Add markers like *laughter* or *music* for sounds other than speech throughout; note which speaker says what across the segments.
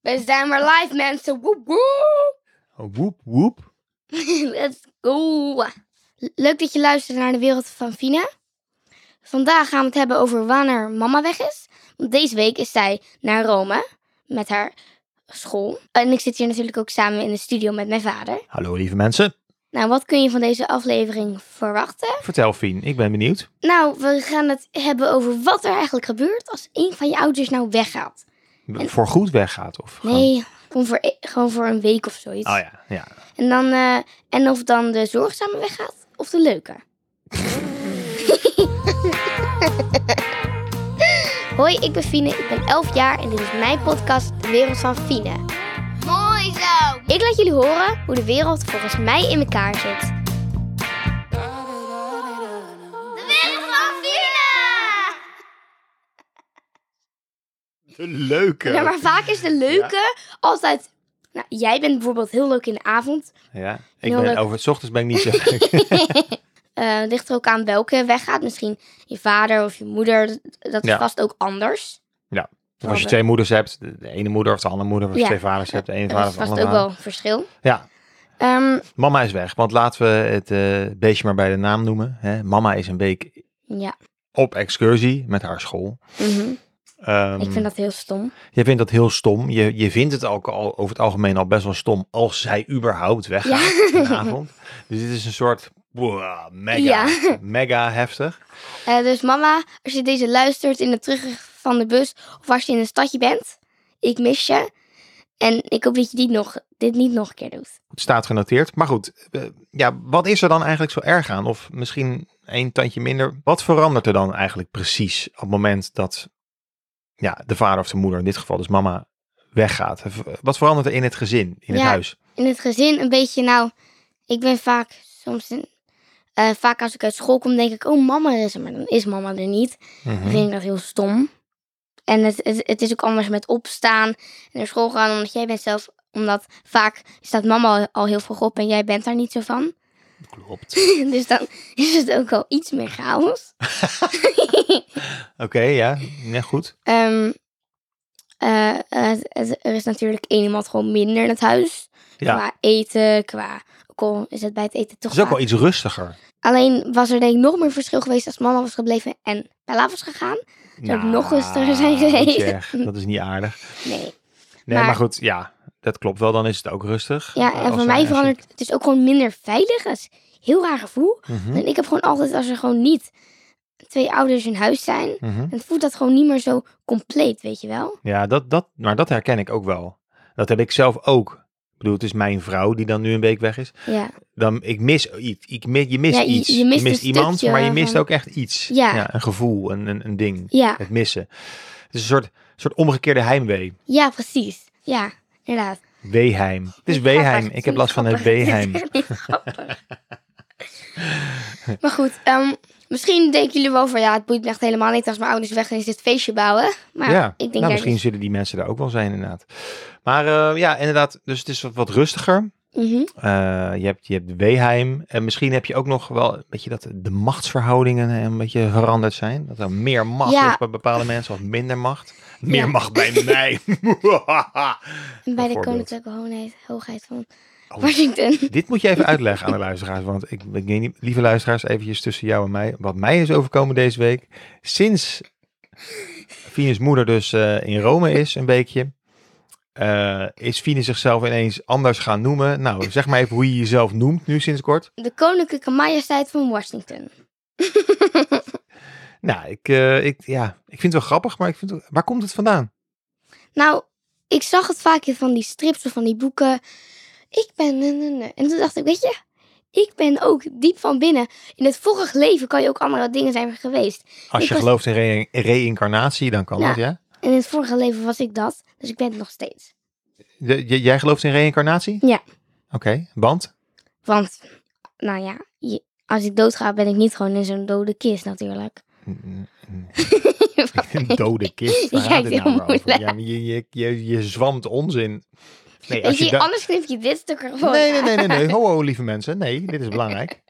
Speaker 1: We zijn weer live, mensen. Woep, woep. *laughs*
Speaker 2: Woep, woep.
Speaker 1: Let's go. Leuk dat je luistert naar de wereld van Fina. Vandaag gaan we het hebben over wanneer mama weg is. Want deze week is zij naar Rome met haar school. En ik zit hier natuurlijk ook samen in de studio met mijn vader.
Speaker 2: Hallo lieve mensen.
Speaker 1: Nou, wat kun je van deze aflevering verwachten?
Speaker 2: Vertel Fien, ik ben benieuwd.
Speaker 1: Nou, we gaan het hebben over wat er eigenlijk gebeurt als een van je ouders nou weggaat.
Speaker 2: Voor Voorgoed weggaat of? gewoon-
Speaker 1: Nee, gewoon voor, e- gewoon voor een week of zoiets.
Speaker 2: Oh ja, ja.
Speaker 1: En, dan, eh, en of dan de zorgzame weggaat of de leuke. *laughs* Hoi, ik ben Fine. Ik ben 11 jaar en dit is mijn podcast De Wereld van Fine. Mooi zo! Ik laat jullie horen hoe de wereld volgens mij in elkaar zit. De Wereld van Fine!
Speaker 2: De leuke.
Speaker 1: Ja, maar vaak is de leuke altijd... Nou, jij bent bijvoorbeeld heel leuk in de avond.
Speaker 2: Ja, ik
Speaker 1: Heel leuk.
Speaker 2: ben over het ochtends ben ik
Speaker 1: *laughs*
Speaker 2: niet zo leuk.
Speaker 1: Eh, het ligt er ook aan welke weg gaat. Misschien je vader of je moeder. d- Dat is
Speaker 2: Ja.
Speaker 1: vast ook anders.
Speaker 2: Of als je twee moeders hebt, de, de ene moeder of de andere moeder. Of als
Speaker 1: Ja.
Speaker 2: je twee vaders hebt, de ene
Speaker 1: dat
Speaker 2: vader
Speaker 1: is
Speaker 2: of de
Speaker 1: vast
Speaker 2: andere
Speaker 1: ook
Speaker 2: vader.
Speaker 1: wel een verschil.
Speaker 2: Ja,
Speaker 1: Ehm,
Speaker 2: mama is weg. Want laten we het eh, beestje maar bij de naam noemen. Hè? Mama is een week
Speaker 1: ja,
Speaker 2: op excursie met haar school.
Speaker 1: mhm.
Speaker 2: Ehm,
Speaker 1: ik vind dat heel stom.
Speaker 2: Je vindt dat heel stom. Je, je vindt het ook al, over het algemeen al best wel stom als zij überhaupt weggaat
Speaker 1: Ja. *laughs*
Speaker 2: vanavond. Dus dit is een soort boah, mega,
Speaker 1: Ja.
Speaker 2: mega heftig.
Speaker 1: Eh, dus mama, als je deze luistert in de terugweg van de bus... of als je in een stadje bent, ik mis je. En ik hoop dat je dit, nog, dit niet nog een keer doet.
Speaker 2: Het staat genoteerd. Maar goed, eh, ja, wat is er dan eigenlijk zo erg aan? Of misschien een tandje minder. Wat verandert er dan eigenlijk precies op het moment dat ja, de vader of de moeder, in dit geval dus mama, weggaat? Wat verandert er in het gezin, in het
Speaker 1: Ja.
Speaker 2: huis?
Speaker 1: In het gezin een beetje, nou... Ik ben vaak soms... in- eh, vaak als ik uit school kom, denk ik... Oh, mama is er, maar dan is mama er niet.
Speaker 2: Mhm.
Speaker 1: Ik vind ik dat heel stom. En het, het, het is ook anders met opstaan en naar school gaan, omdat jij bent zelf, omdat vaak staat mama al, al heel vroeg op en jij bent daar niet zo van. *laughs*
Speaker 2: Klopt.
Speaker 1: dus dan is het ook al iets meer chaos.
Speaker 2: Oké, ja, net goed.
Speaker 1: Ehm, eh, het- het- er is natuurlijk één iemand gewoon minder in het huis.
Speaker 2: Ja.
Speaker 1: Qua eten, qua. Ook al is het bij het eten toch.
Speaker 2: Het is ook
Speaker 1: vaak-
Speaker 2: wel iets rustiger.
Speaker 1: Alleen was er denk ik nog meer verschil geweest als mama was gebleven en Bella was gegaan. Zou ik nog rustiger zijn
Speaker 2: Nou,
Speaker 1: geweest?
Speaker 2: zeg, dat is niet aardig.
Speaker 1: Nee.
Speaker 2: Nee, maar,
Speaker 1: Maar-
Speaker 2: goed, ja, dat klopt wel. Dan is het ook rustig.
Speaker 1: Ja,
Speaker 2: Eh,
Speaker 1: en
Speaker 2: als
Speaker 1: voor
Speaker 2: hij-
Speaker 1: mij
Speaker 2: als je-
Speaker 1: verandert het is ook gewoon minder veilig. Dat is een heel raar gevoel.
Speaker 2: Mhm,
Speaker 1: En ik heb gewoon altijd, als er gewoon niet twee ouders in huis zijn,
Speaker 2: mhm.
Speaker 1: dan voelt dat gewoon niet meer zo compleet, weet je wel?
Speaker 2: Ja, dat, dat, maar dat herken ik ook wel. Dat heb ik zelf ook. Ik bedoel, het is mijn vrouw die dan nu een week weg is.
Speaker 1: Ja,
Speaker 2: Dan, ik mis iets. Ik, mi- je mist
Speaker 1: Ja, je-
Speaker 2: iets.
Speaker 1: je mist een
Speaker 2: iemand,
Speaker 1: stukje
Speaker 2: maar je mist
Speaker 1: van-
Speaker 2: ook echt iets.
Speaker 1: Ja.
Speaker 2: een gevoel, een, een, een ding.
Speaker 1: ja,
Speaker 2: Het missen. Het is een soort, soort omgekeerde heimwee.
Speaker 1: ja, precies. Ja, inderdaad.
Speaker 2: Weeheim. Het is
Speaker 1: Niet grappig,
Speaker 2: weeheim.
Speaker 1: het is
Speaker 2: Ik heb
Speaker 1: niet
Speaker 2: last van het
Speaker 1: grappig. *laughs*
Speaker 2: weeheim.
Speaker 1: Het is niet grappig. maar goed, ehm, misschien denken jullie wel van ja, het boeit me echt helemaal niet als mijn ouders weg zijn, is dit feestje bouwen. Maar
Speaker 2: ja,
Speaker 1: ik denk
Speaker 2: nou,
Speaker 1: daar
Speaker 2: misschien
Speaker 1: dus-
Speaker 2: zullen die mensen er ook wel zijn inderdaad. Maar eh, ja, inderdaad. Dus het is wat, wat rustiger.
Speaker 1: Mhm.
Speaker 2: Eh, je, hebt, je hebt Weheim. En misschien heb je ook nog wel een beetje dat de machtsverhoudingen een beetje veranderd zijn. Dat er meer macht
Speaker 1: Ja.
Speaker 2: is bij bepaalde mensen of minder macht. Meer
Speaker 1: Ja. *laughs*
Speaker 2: macht bij mij.
Speaker 1: En bij
Speaker 2: *laughs* Oh,
Speaker 1: de
Speaker 2: Bijvoorbeeld.
Speaker 1: Koninklijke Hoogheid, hoogheid van
Speaker 2: Oh.
Speaker 1: Washington.
Speaker 2: Dit moet je even uitleggen aan de luisteraars. Want ik, ik weet niet, lieve luisteraars, eventjes tussen jou en mij. Wat mij is overkomen deze week. Sinds Fine's moeder dus eh, in Rome is, een weekje. eh, is Fine zichzelf ineens anders gaan noemen. Nou, zeg maar even hoe je jezelf noemt nu sinds kort.
Speaker 1: De Koninklijke Majesteit van Washington.
Speaker 2: Nou, ik, eh, ik, ja, ik vind het wel grappig, maar ik vind het, waar komt het vandaan?
Speaker 1: Nou, ik zag het vaak in van die strips of van die boeken. Ik ben. nee, nee, nee. En toen dacht ik, weet je, ik ben ook diep van binnen. In het vorige leven kan je ook andere dingen zijn geweest.
Speaker 2: Als
Speaker 1: Ik
Speaker 2: je
Speaker 1: was-
Speaker 2: gelooft in re- reïncarnatie, dan kan
Speaker 1: Ja.
Speaker 2: dat, ja?
Speaker 1: En in het vorige leven was ik dat, dus ik ben het nog steeds.
Speaker 2: De- j- jij gelooft in reïncarnatie?
Speaker 1: Ja.
Speaker 2: Oké, want?
Speaker 1: Want, nou ja, je- als ik doodga, ben ik niet gewoon in zo'n dode kist natuurlijk. *laughs*
Speaker 2: Een dode kist, waar
Speaker 1: Ja, *laughs*
Speaker 2: gaat
Speaker 1: ik
Speaker 2: het
Speaker 1: vind *laughs* het
Speaker 2: nou maar over?
Speaker 1: moeilijk.
Speaker 2: Ja, maar je, je, je, je zwamt onzin. Nee,
Speaker 1: Weet
Speaker 2: als
Speaker 1: je,
Speaker 2: je da-
Speaker 1: anders knip je dit stuk er gewoon
Speaker 2: nee, nee,
Speaker 1: uit.
Speaker 2: nee, nee, nee. Ho, ho, lieve mensen. Nee, dit is
Speaker 1: *laughs*
Speaker 2: belangrijk.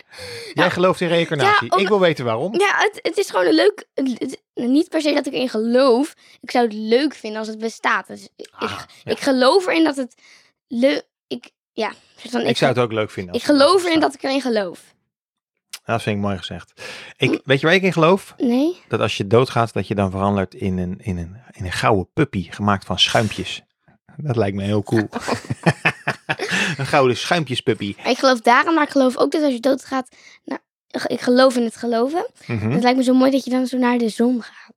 Speaker 2: Jij gelooft in reïncarnatie.
Speaker 1: Ja, om-
Speaker 2: Ik wil weten waarom.
Speaker 1: Ja, het, het is gewoon een leuk... het- het- niet per se dat ik erin geloof. Ik zou het leuk vinden als het bestaat. Dus ik,
Speaker 2: Ah, ja.
Speaker 1: ik geloof erin dat het leuk... Ik, ja, soort van,
Speaker 2: Ik zou het ook leuk vinden.
Speaker 1: ik
Speaker 2: als
Speaker 1: geloof
Speaker 2: het
Speaker 1: erin dat ik erin geloof.
Speaker 2: Dat vind ik mooi gezegd. Ik, weet je waar ik in geloof?
Speaker 1: Nee?
Speaker 2: Dat als je doodgaat, dat je dan verandert in een, in een, in een gouden puppy gemaakt van schuimpjes. Dat lijkt me heel
Speaker 1: *laughs*
Speaker 2: cool. een gouden schuimpjespuppy.
Speaker 1: Ik geloof daarin, maar ik geloof ook dat als je doodgaat... Nou, ik geloof in het geloven.
Speaker 2: Mhm,
Speaker 1: Het lijkt me zo mooi dat je dan zo naar de zon gaat.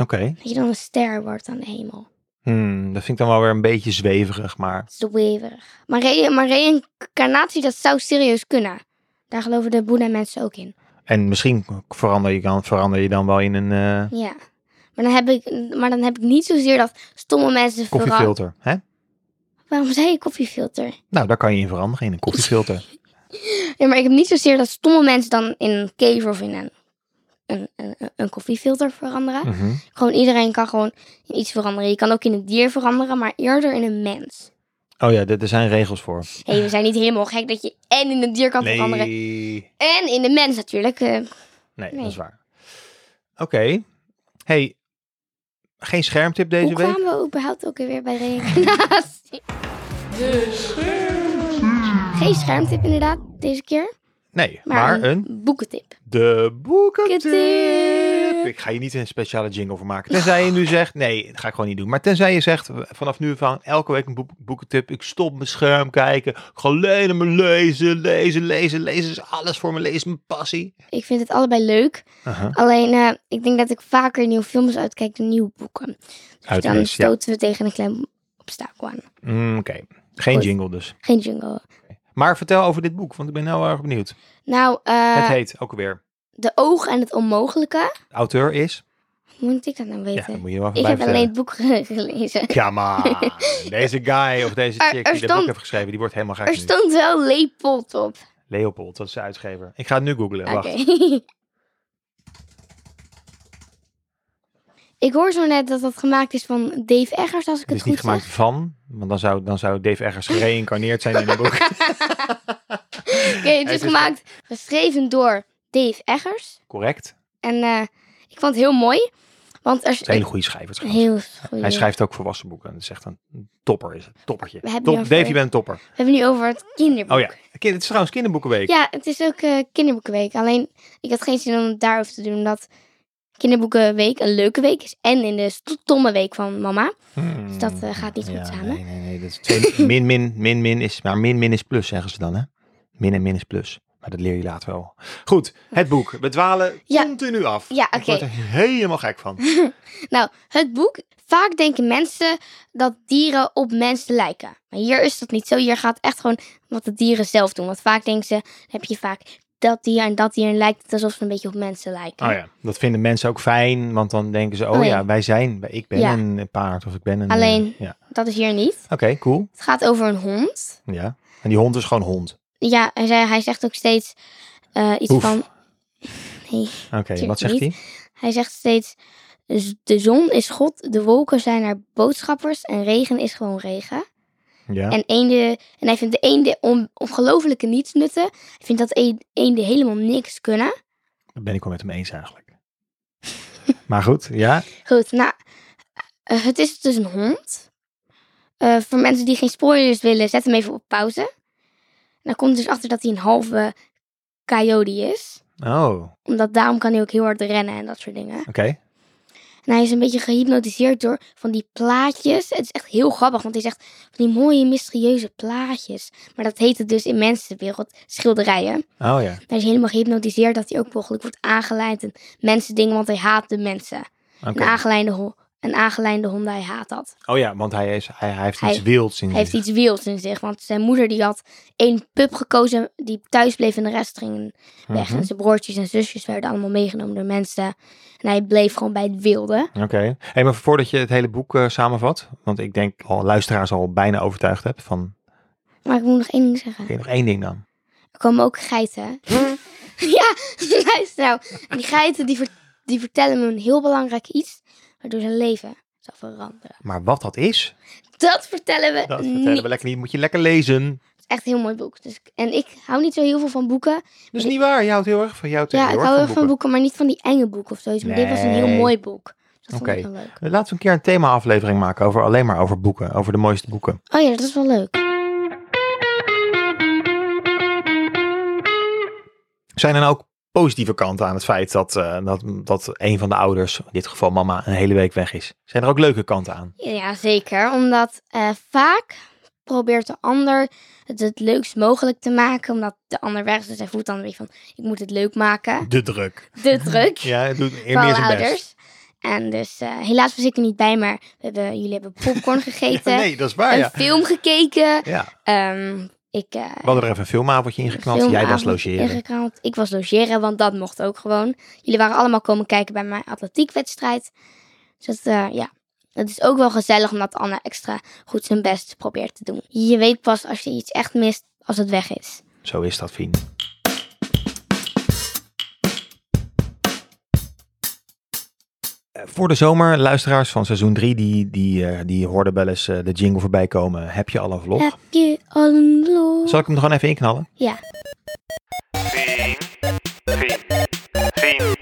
Speaker 2: Oké.
Speaker 1: Dat je dan een ster wordt aan de hemel.
Speaker 2: Hmm, dat vind ik dan wel weer een beetje zweverig, maar
Speaker 1: Zweverig. Maar, re maar reïncarnatie, dat zou serieus kunnen. Daar geloven de Boeddha-mensen ook in.
Speaker 2: En misschien verander je dan, verander je dan wel in een eh,
Speaker 1: Ja. Maar dan, heb ik, maar dan heb ik niet zozeer dat stomme mensen... vera-
Speaker 2: koffiefilter. Hè?
Speaker 1: Waarom zei je koffiefilter?
Speaker 2: Nou, daar kan je in veranderen, in een koffiefilter.
Speaker 1: *laughs* Ja, maar ik heb niet zozeer dat stomme mensen dan in een cave of in een, een, een, een koffiefilter veranderen.
Speaker 2: Mhm.
Speaker 1: Gewoon iedereen kan gewoon in iets veranderen. Je kan ook in een dier veranderen, maar eerder in een mens.
Speaker 2: Oh ja, d- er zijn regels voor.
Speaker 1: Hé, we zijn niet helemaal gek dat je en in een dier kan veranderen...
Speaker 2: Nee,
Speaker 1: En in de mens natuurlijk. eh,
Speaker 2: nee,
Speaker 1: Nee.
Speaker 2: dat is waar. Oké. Hey, geen schermtip deze
Speaker 1: hoe
Speaker 2: week?
Speaker 1: kwamen we überhaupt ook weer bij reïncarnatie? Geen schermtip inderdaad deze keer.
Speaker 2: Nee,
Speaker 1: Maar,
Speaker 2: maar
Speaker 1: een,
Speaker 2: een
Speaker 1: boekentip.
Speaker 2: De boekentip.
Speaker 1: Boekentip.
Speaker 2: Ik ga hier niet een speciale jingle voor maken. Tenzij je nu zegt, nee, dat ga ik gewoon niet doen. Maar tenzij je zegt, vanaf nu van elke week een boek, boekentip. Ik stop mijn scherm kijken. Ik ga alleen maar lezen, lezen, lezen. Lezen is alles voor me. Lezen is mijn passie.
Speaker 1: Ik vind het allebei leuk.
Speaker 2: Aha.
Speaker 1: Alleen eh, ik denk dat ik vaker nieuwe films uitkijk dan nieuwe boeken. Dus dan
Speaker 2: Uitlees, ja.
Speaker 1: stoten we tegen een klein obstakel aan.
Speaker 2: Mm, Oké, geen
Speaker 1: Goed.
Speaker 2: jingle dus.
Speaker 1: Geen jungle.
Speaker 2: Maar vertel over dit boek, want ik ben nou erg benieuwd.
Speaker 1: Nou, eh,
Speaker 2: het heet ook weer.
Speaker 1: De Oog en het Onmogelijke.
Speaker 2: De auteur is.
Speaker 1: Moet ik dat nou
Speaker 2: Ja,
Speaker 1: weten?
Speaker 2: dat moet je wel even
Speaker 1: ik
Speaker 2: bij
Speaker 1: heb alleen
Speaker 2: vertellen.
Speaker 1: het boek *laughs* ge- gelezen. *laughs*
Speaker 2: Ja, maar deze guy of deze
Speaker 1: Er-
Speaker 2: chick
Speaker 1: er
Speaker 2: die dat boek
Speaker 1: stond-
Speaker 2: heeft geschreven, die wordt helemaal gek
Speaker 1: Er
Speaker 2: nu.
Speaker 1: stond wel Leopold op.
Speaker 2: Leopold, dat is de uitgever. Ik ga het nu googlen.
Speaker 1: Oké. *laughs*
Speaker 2: Wacht.
Speaker 1: ik hoor zo net dat dat gemaakt is van Dave Eggers, als ik het,
Speaker 2: Het is niet
Speaker 1: goed
Speaker 2: gemaakt
Speaker 1: zeg.
Speaker 2: van, want dan zou, dan zou Dave Eggers gereïncarneerd zijn in een
Speaker 1: *laughs*
Speaker 2: boek. *laughs*
Speaker 1: Oké, het
Speaker 2: Het
Speaker 1: is
Speaker 2: is
Speaker 1: gemaakt, geschreven door Dave Eggers.
Speaker 2: Correct. Het
Speaker 1: En eh, ik vond het heel mooi, want er is
Speaker 2: is een hele goede schrijver
Speaker 1: een
Speaker 2: trouwens.
Speaker 1: heel goeie.
Speaker 2: Hij schrijft ook volwassen boeken. Dat is echt een topper. Is het. Toppertje.
Speaker 1: We hebben
Speaker 2: Top,
Speaker 1: hier
Speaker 2: Dave, je
Speaker 1: voor-
Speaker 2: bent een topper.
Speaker 1: We hebben nu over het kinderboek.
Speaker 2: Oh ja, Kind- het is trouwens kinderboekenweek.
Speaker 1: Ja, het is ook eh, kinderboekenweek. Alleen, ik had geen zin om het daarover te doen, omdat kinderboekenweek een leuke week is. En in de stomme week van mama.
Speaker 2: Hmm.
Speaker 1: Dus dat eh, gaat niet goed
Speaker 2: Ja,
Speaker 1: samen.
Speaker 2: Nee, nee, nee. Dat is
Speaker 1: *laughs*
Speaker 2: twee, min, min, min, min is, maar min, min is plus, zeggen ze dan hè. Min en min is plus. Maar dat leer je later wel. Goed, het boek. We dwalen
Speaker 1: Ja.
Speaker 2: continu af.
Speaker 1: Ja,
Speaker 2: Ik word
Speaker 1: oké.
Speaker 2: er helemaal gek van.
Speaker 1: Nou, het boek. Vaak denken mensen dat dieren op mensen lijken. Maar hier is dat niet zo. Hier gaat echt gewoon wat de dieren zelf doen. Want vaak denken ze, dan heb je vaak dat dier en dat dier. En lijkt het alsof ze een beetje op mensen lijken.
Speaker 2: Oh ja, dat vinden mensen ook fijn, want dan denken ze, oh,
Speaker 1: Oh
Speaker 2: ja.
Speaker 1: ja.
Speaker 2: wij zijn, ik ben
Speaker 1: Ja.
Speaker 2: een paard of ik ben een... eh,
Speaker 1: Alleen-
Speaker 2: ja.
Speaker 1: Dat is hier niet.
Speaker 2: Oké, cool.
Speaker 1: Het gaat over een hond.
Speaker 2: Ja. En die hond is gewoon hond.
Speaker 1: Ja, hij, zei, hij zegt ook steeds eh, iets
Speaker 2: Hoef.
Speaker 1: van... Nee,
Speaker 2: Oké, wat
Speaker 1: Tuurlijk
Speaker 2: zegt hij?
Speaker 1: hij zegt steeds... "Z- De zon is God, de wolken zijn haar boodschappers en regen is gewoon regen.
Speaker 2: Ja.
Speaker 1: En, eenden, en hij vindt de eenden on, ongelooflijke nietsnutten. Hij vindt dat e- eenden helemaal niks kunnen.
Speaker 2: Dat ben ik wel met hem eens eigenlijk. *laughs* maar goed, ja.
Speaker 1: Goed, nou, eh, het is dus een hond. Eh, voor mensen die geen spoilers willen, zet hem even op pauze. En dan komt dus achter dat hij een halve coyote is.
Speaker 2: Oh, oké.
Speaker 1: Omdat daarom kan hij ook heel hard rennen en dat soort dingen. En hij is een beetje gehypnotiseerd door van die plaatjes. Het is echt heel grappig, want hij zegt van die mooie mysterieuze plaatjes. Maar dat heet het dus in mensenwereld schilderijen.
Speaker 2: Oh ja.
Speaker 1: Hij is helemaal gehypnotiseerd dat hij ook mogelijk wordt aangeleid. En mensen dingen, want hij haat de mensen.
Speaker 2: Oké.
Speaker 1: Een, aangeleide ho- een aangeleide hond, hij haat dat.
Speaker 2: Oh ja, want hij, is, hij, hij heeft
Speaker 1: Hij-
Speaker 2: iets wilds in
Speaker 1: Hij heeft
Speaker 2: zich.
Speaker 1: iets wilds in zich. Want zijn moeder die had één pup gekozen die thuis bleef en de rest ging weg.
Speaker 2: Mhm.
Speaker 1: En zijn broertjes en zusjes werden allemaal meegenomen door mensen. En hij bleef gewoon bij het wilde.
Speaker 2: Oké. Hey, maar voordat je het hele boek eh, samenvat, want ik denk al luisteraars al bijna overtuigd hebt van...
Speaker 1: Maar ik moet nog één ding zeggen.
Speaker 2: Oké, nog één ding dan.
Speaker 1: Er komen ook geiten. ja, *laughs* luister nou. En die geiten die, ver- die vertellen me een heel belangrijk iets waardoor ze leven. Ze zou veranderen.
Speaker 2: Maar wat dat is,
Speaker 1: Dat vertellen we
Speaker 2: dat
Speaker 1: niet.
Speaker 2: vertellen we lekker niet. Moet je lekker lezen.
Speaker 1: Het is echt een heel mooi boek. Dus, en ik hou niet zo heel veel van boeken.
Speaker 2: Dus niet waar. Je houdt heel erg van jou tegen
Speaker 1: Ja, ik hou heel erg van boeken, maar niet van die enge boeken of zoiets. Maar dit was een heel
Speaker 2: Nee.
Speaker 1: mooi boek. Dus Dat
Speaker 2: Oké.
Speaker 1: vond ik wel leuk.
Speaker 2: Laten we een keer een thema-aflevering maken over alleen maar over boeken, over de mooiste boeken.
Speaker 1: Oh ja, dat is wel leuk.
Speaker 2: Zijn er nou ook positieve kanten aan het feit dat, eh, dat, dat een van de ouders, in dit geval mama, een hele week weg is? Zijn er ook leuke kanten aan?
Speaker 1: Ja, zeker. Omdat eh, vaak probeert de ander het het leukst mogelijk te maken. Omdat de ander weg is. Dus hij voelt dan weer van, ik moet het leuk maken.
Speaker 2: De druk.
Speaker 1: De druk.
Speaker 2: *laughs* Ja, het doet
Speaker 1: van
Speaker 2: meer
Speaker 1: alle
Speaker 2: zijn best.
Speaker 1: ouders. En dus eh, helaas was ik er niet bij, maar we hebben, jullie hebben
Speaker 2: *laughs*
Speaker 1: popcorn gegeten.
Speaker 2: nee, dat is waar,
Speaker 1: een
Speaker 2: ja.
Speaker 1: film gekeken.
Speaker 2: ja.
Speaker 1: Ehm, ik, eh,
Speaker 2: We hadden er even een filmavondje ingeknapt. Jij was
Speaker 1: filmavond
Speaker 2: logeren.
Speaker 1: ingeknald. Ik was logeren, want dat mocht ook gewoon. Jullie waren allemaal komen kijken bij mijn atletiekwedstrijd. Dus dat, eh, ja, het is ook wel gezellig omdat Anna extra goed zijn best probeert te doen. Je weet pas als je iets echt mist als het weg is.
Speaker 2: Zo is dat, Fien. Eh, Voor de zomer, luisteraars van seizoen 3, die, die, eh, die hoorden wel eens eh, de jingle voorbij komen. Heb je al een vlog?
Speaker 1: Heb je al een lol?
Speaker 2: Zal ik hem er gewoon even inknallen?
Speaker 1: Ja.
Speaker 3: Fien, Fien, Fien. Hey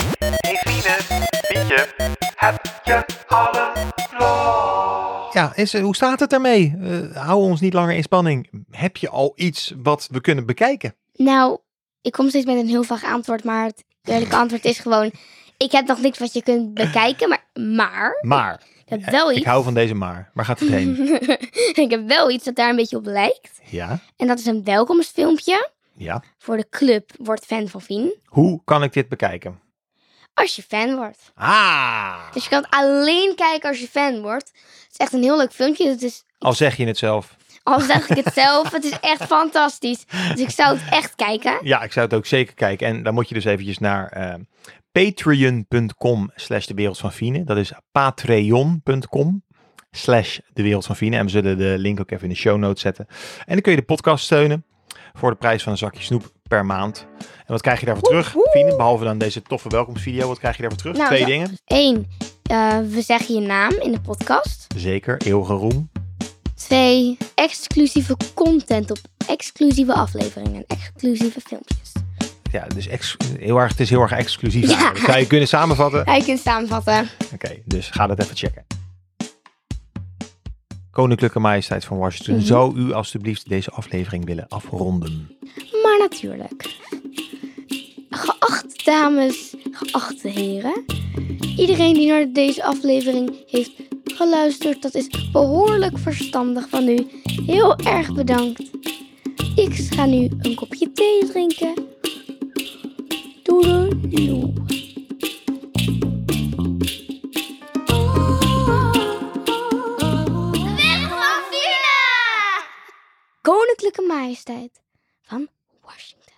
Speaker 3: Fiene, Fientje, heb je al een vlog?
Speaker 2: Ja, is, eh, hoe staat het ermee? Eh, hou ons niet langer in spanning. Heb je al iets wat we kunnen bekijken?
Speaker 1: Nou, ik kom steeds met een heel vaag antwoord, maar het eerlijke antwoord is gewoon... Ik heb nog niks wat je kunt bekijken, maar... Maar,
Speaker 2: Maar,
Speaker 1: ik heb wel
Speaker 2: ik
Speaker 1: iets...
Speaker 2: hou van deze maar. Waar gaat het
Speaker 1: *laughs*
Speaker 2: heen?
Speaker 1: ik heb wel iets dat daar een beetje op lijkt.
Speaker 2: ja,
Speaker 1: En dat is een welkomstfilmpje
Speaker 2: ja.
Speaker 1: voor de club Word Fan van Vien.
Speaker 2: Hoe kan ik dit bekijken?
Speaker 1: Als je fan wordt.
Speaker 2: Ah!
Speaker 1: Dus je kan het alleen kijken als je fan wordt. Het is echt een heel leuk filmpje. dus Het is,
Speaker 2: Al zeg je het zelf.
Speaker 1: al zeg
Speaker 2: *laughs*
Speaker 1: ik het zelf, het is echt fantastisch. Dus ik zou het echt kijken.
Speaker 2: Ja, ik zou het ook zeker kijken. En dan moet je dus eventjes naar eh, patreon.com slash de wereld van Fine. Dat is patreon.com slash de wereld van Fine. En we zullen de link ook even in de show notes zetten. En dan kun je de podcast steunen voor de prijs van een zakje snoep per maand. En wat krijg je daarvoor terug, Fine? Behalve dan deze toffe welkomstvideo. Wat krijg je daarvoor terug?
Speaker 1: Nou,
Speaker 2: Twee
Speaker 1: dat-
Speaker 2: dingen.
Speaker 1: Eén, eh, we zeggen je naam in de podcast.
Speaker 2: Zeker, eeuwige roem.
Speaker 1: Twee, exclusieve content op exclusieve afleveringen en exclusieve filmpjes.
Speaker 2: Ja, dus ex- heel erg, het is heel erg exclusief.
Speaker 1: Ja.
Speaker 2: eigenlijk. Zou je kunnen samenvatten?
Speaker 1: Ja, je kunt samenvatten.
Speaker 2: Oké, dus ga dat even checken. Koninklijke Majesteit van Washington,
Speaker 1: Mhm.
Speaker 2: zou u alstublieft deze aflevering willen afronden?
Speaker 1: Maar natuurlijk. Geachte dames, geachte heren. Iedereen die naar deze aflevering heeft geluisterd, dat is behoorlijk verstandig van u. Heel erg bedankt. Ik ga nu een kopje thee drinken. Doedeloe. Koninklijke Majesteit van Washington.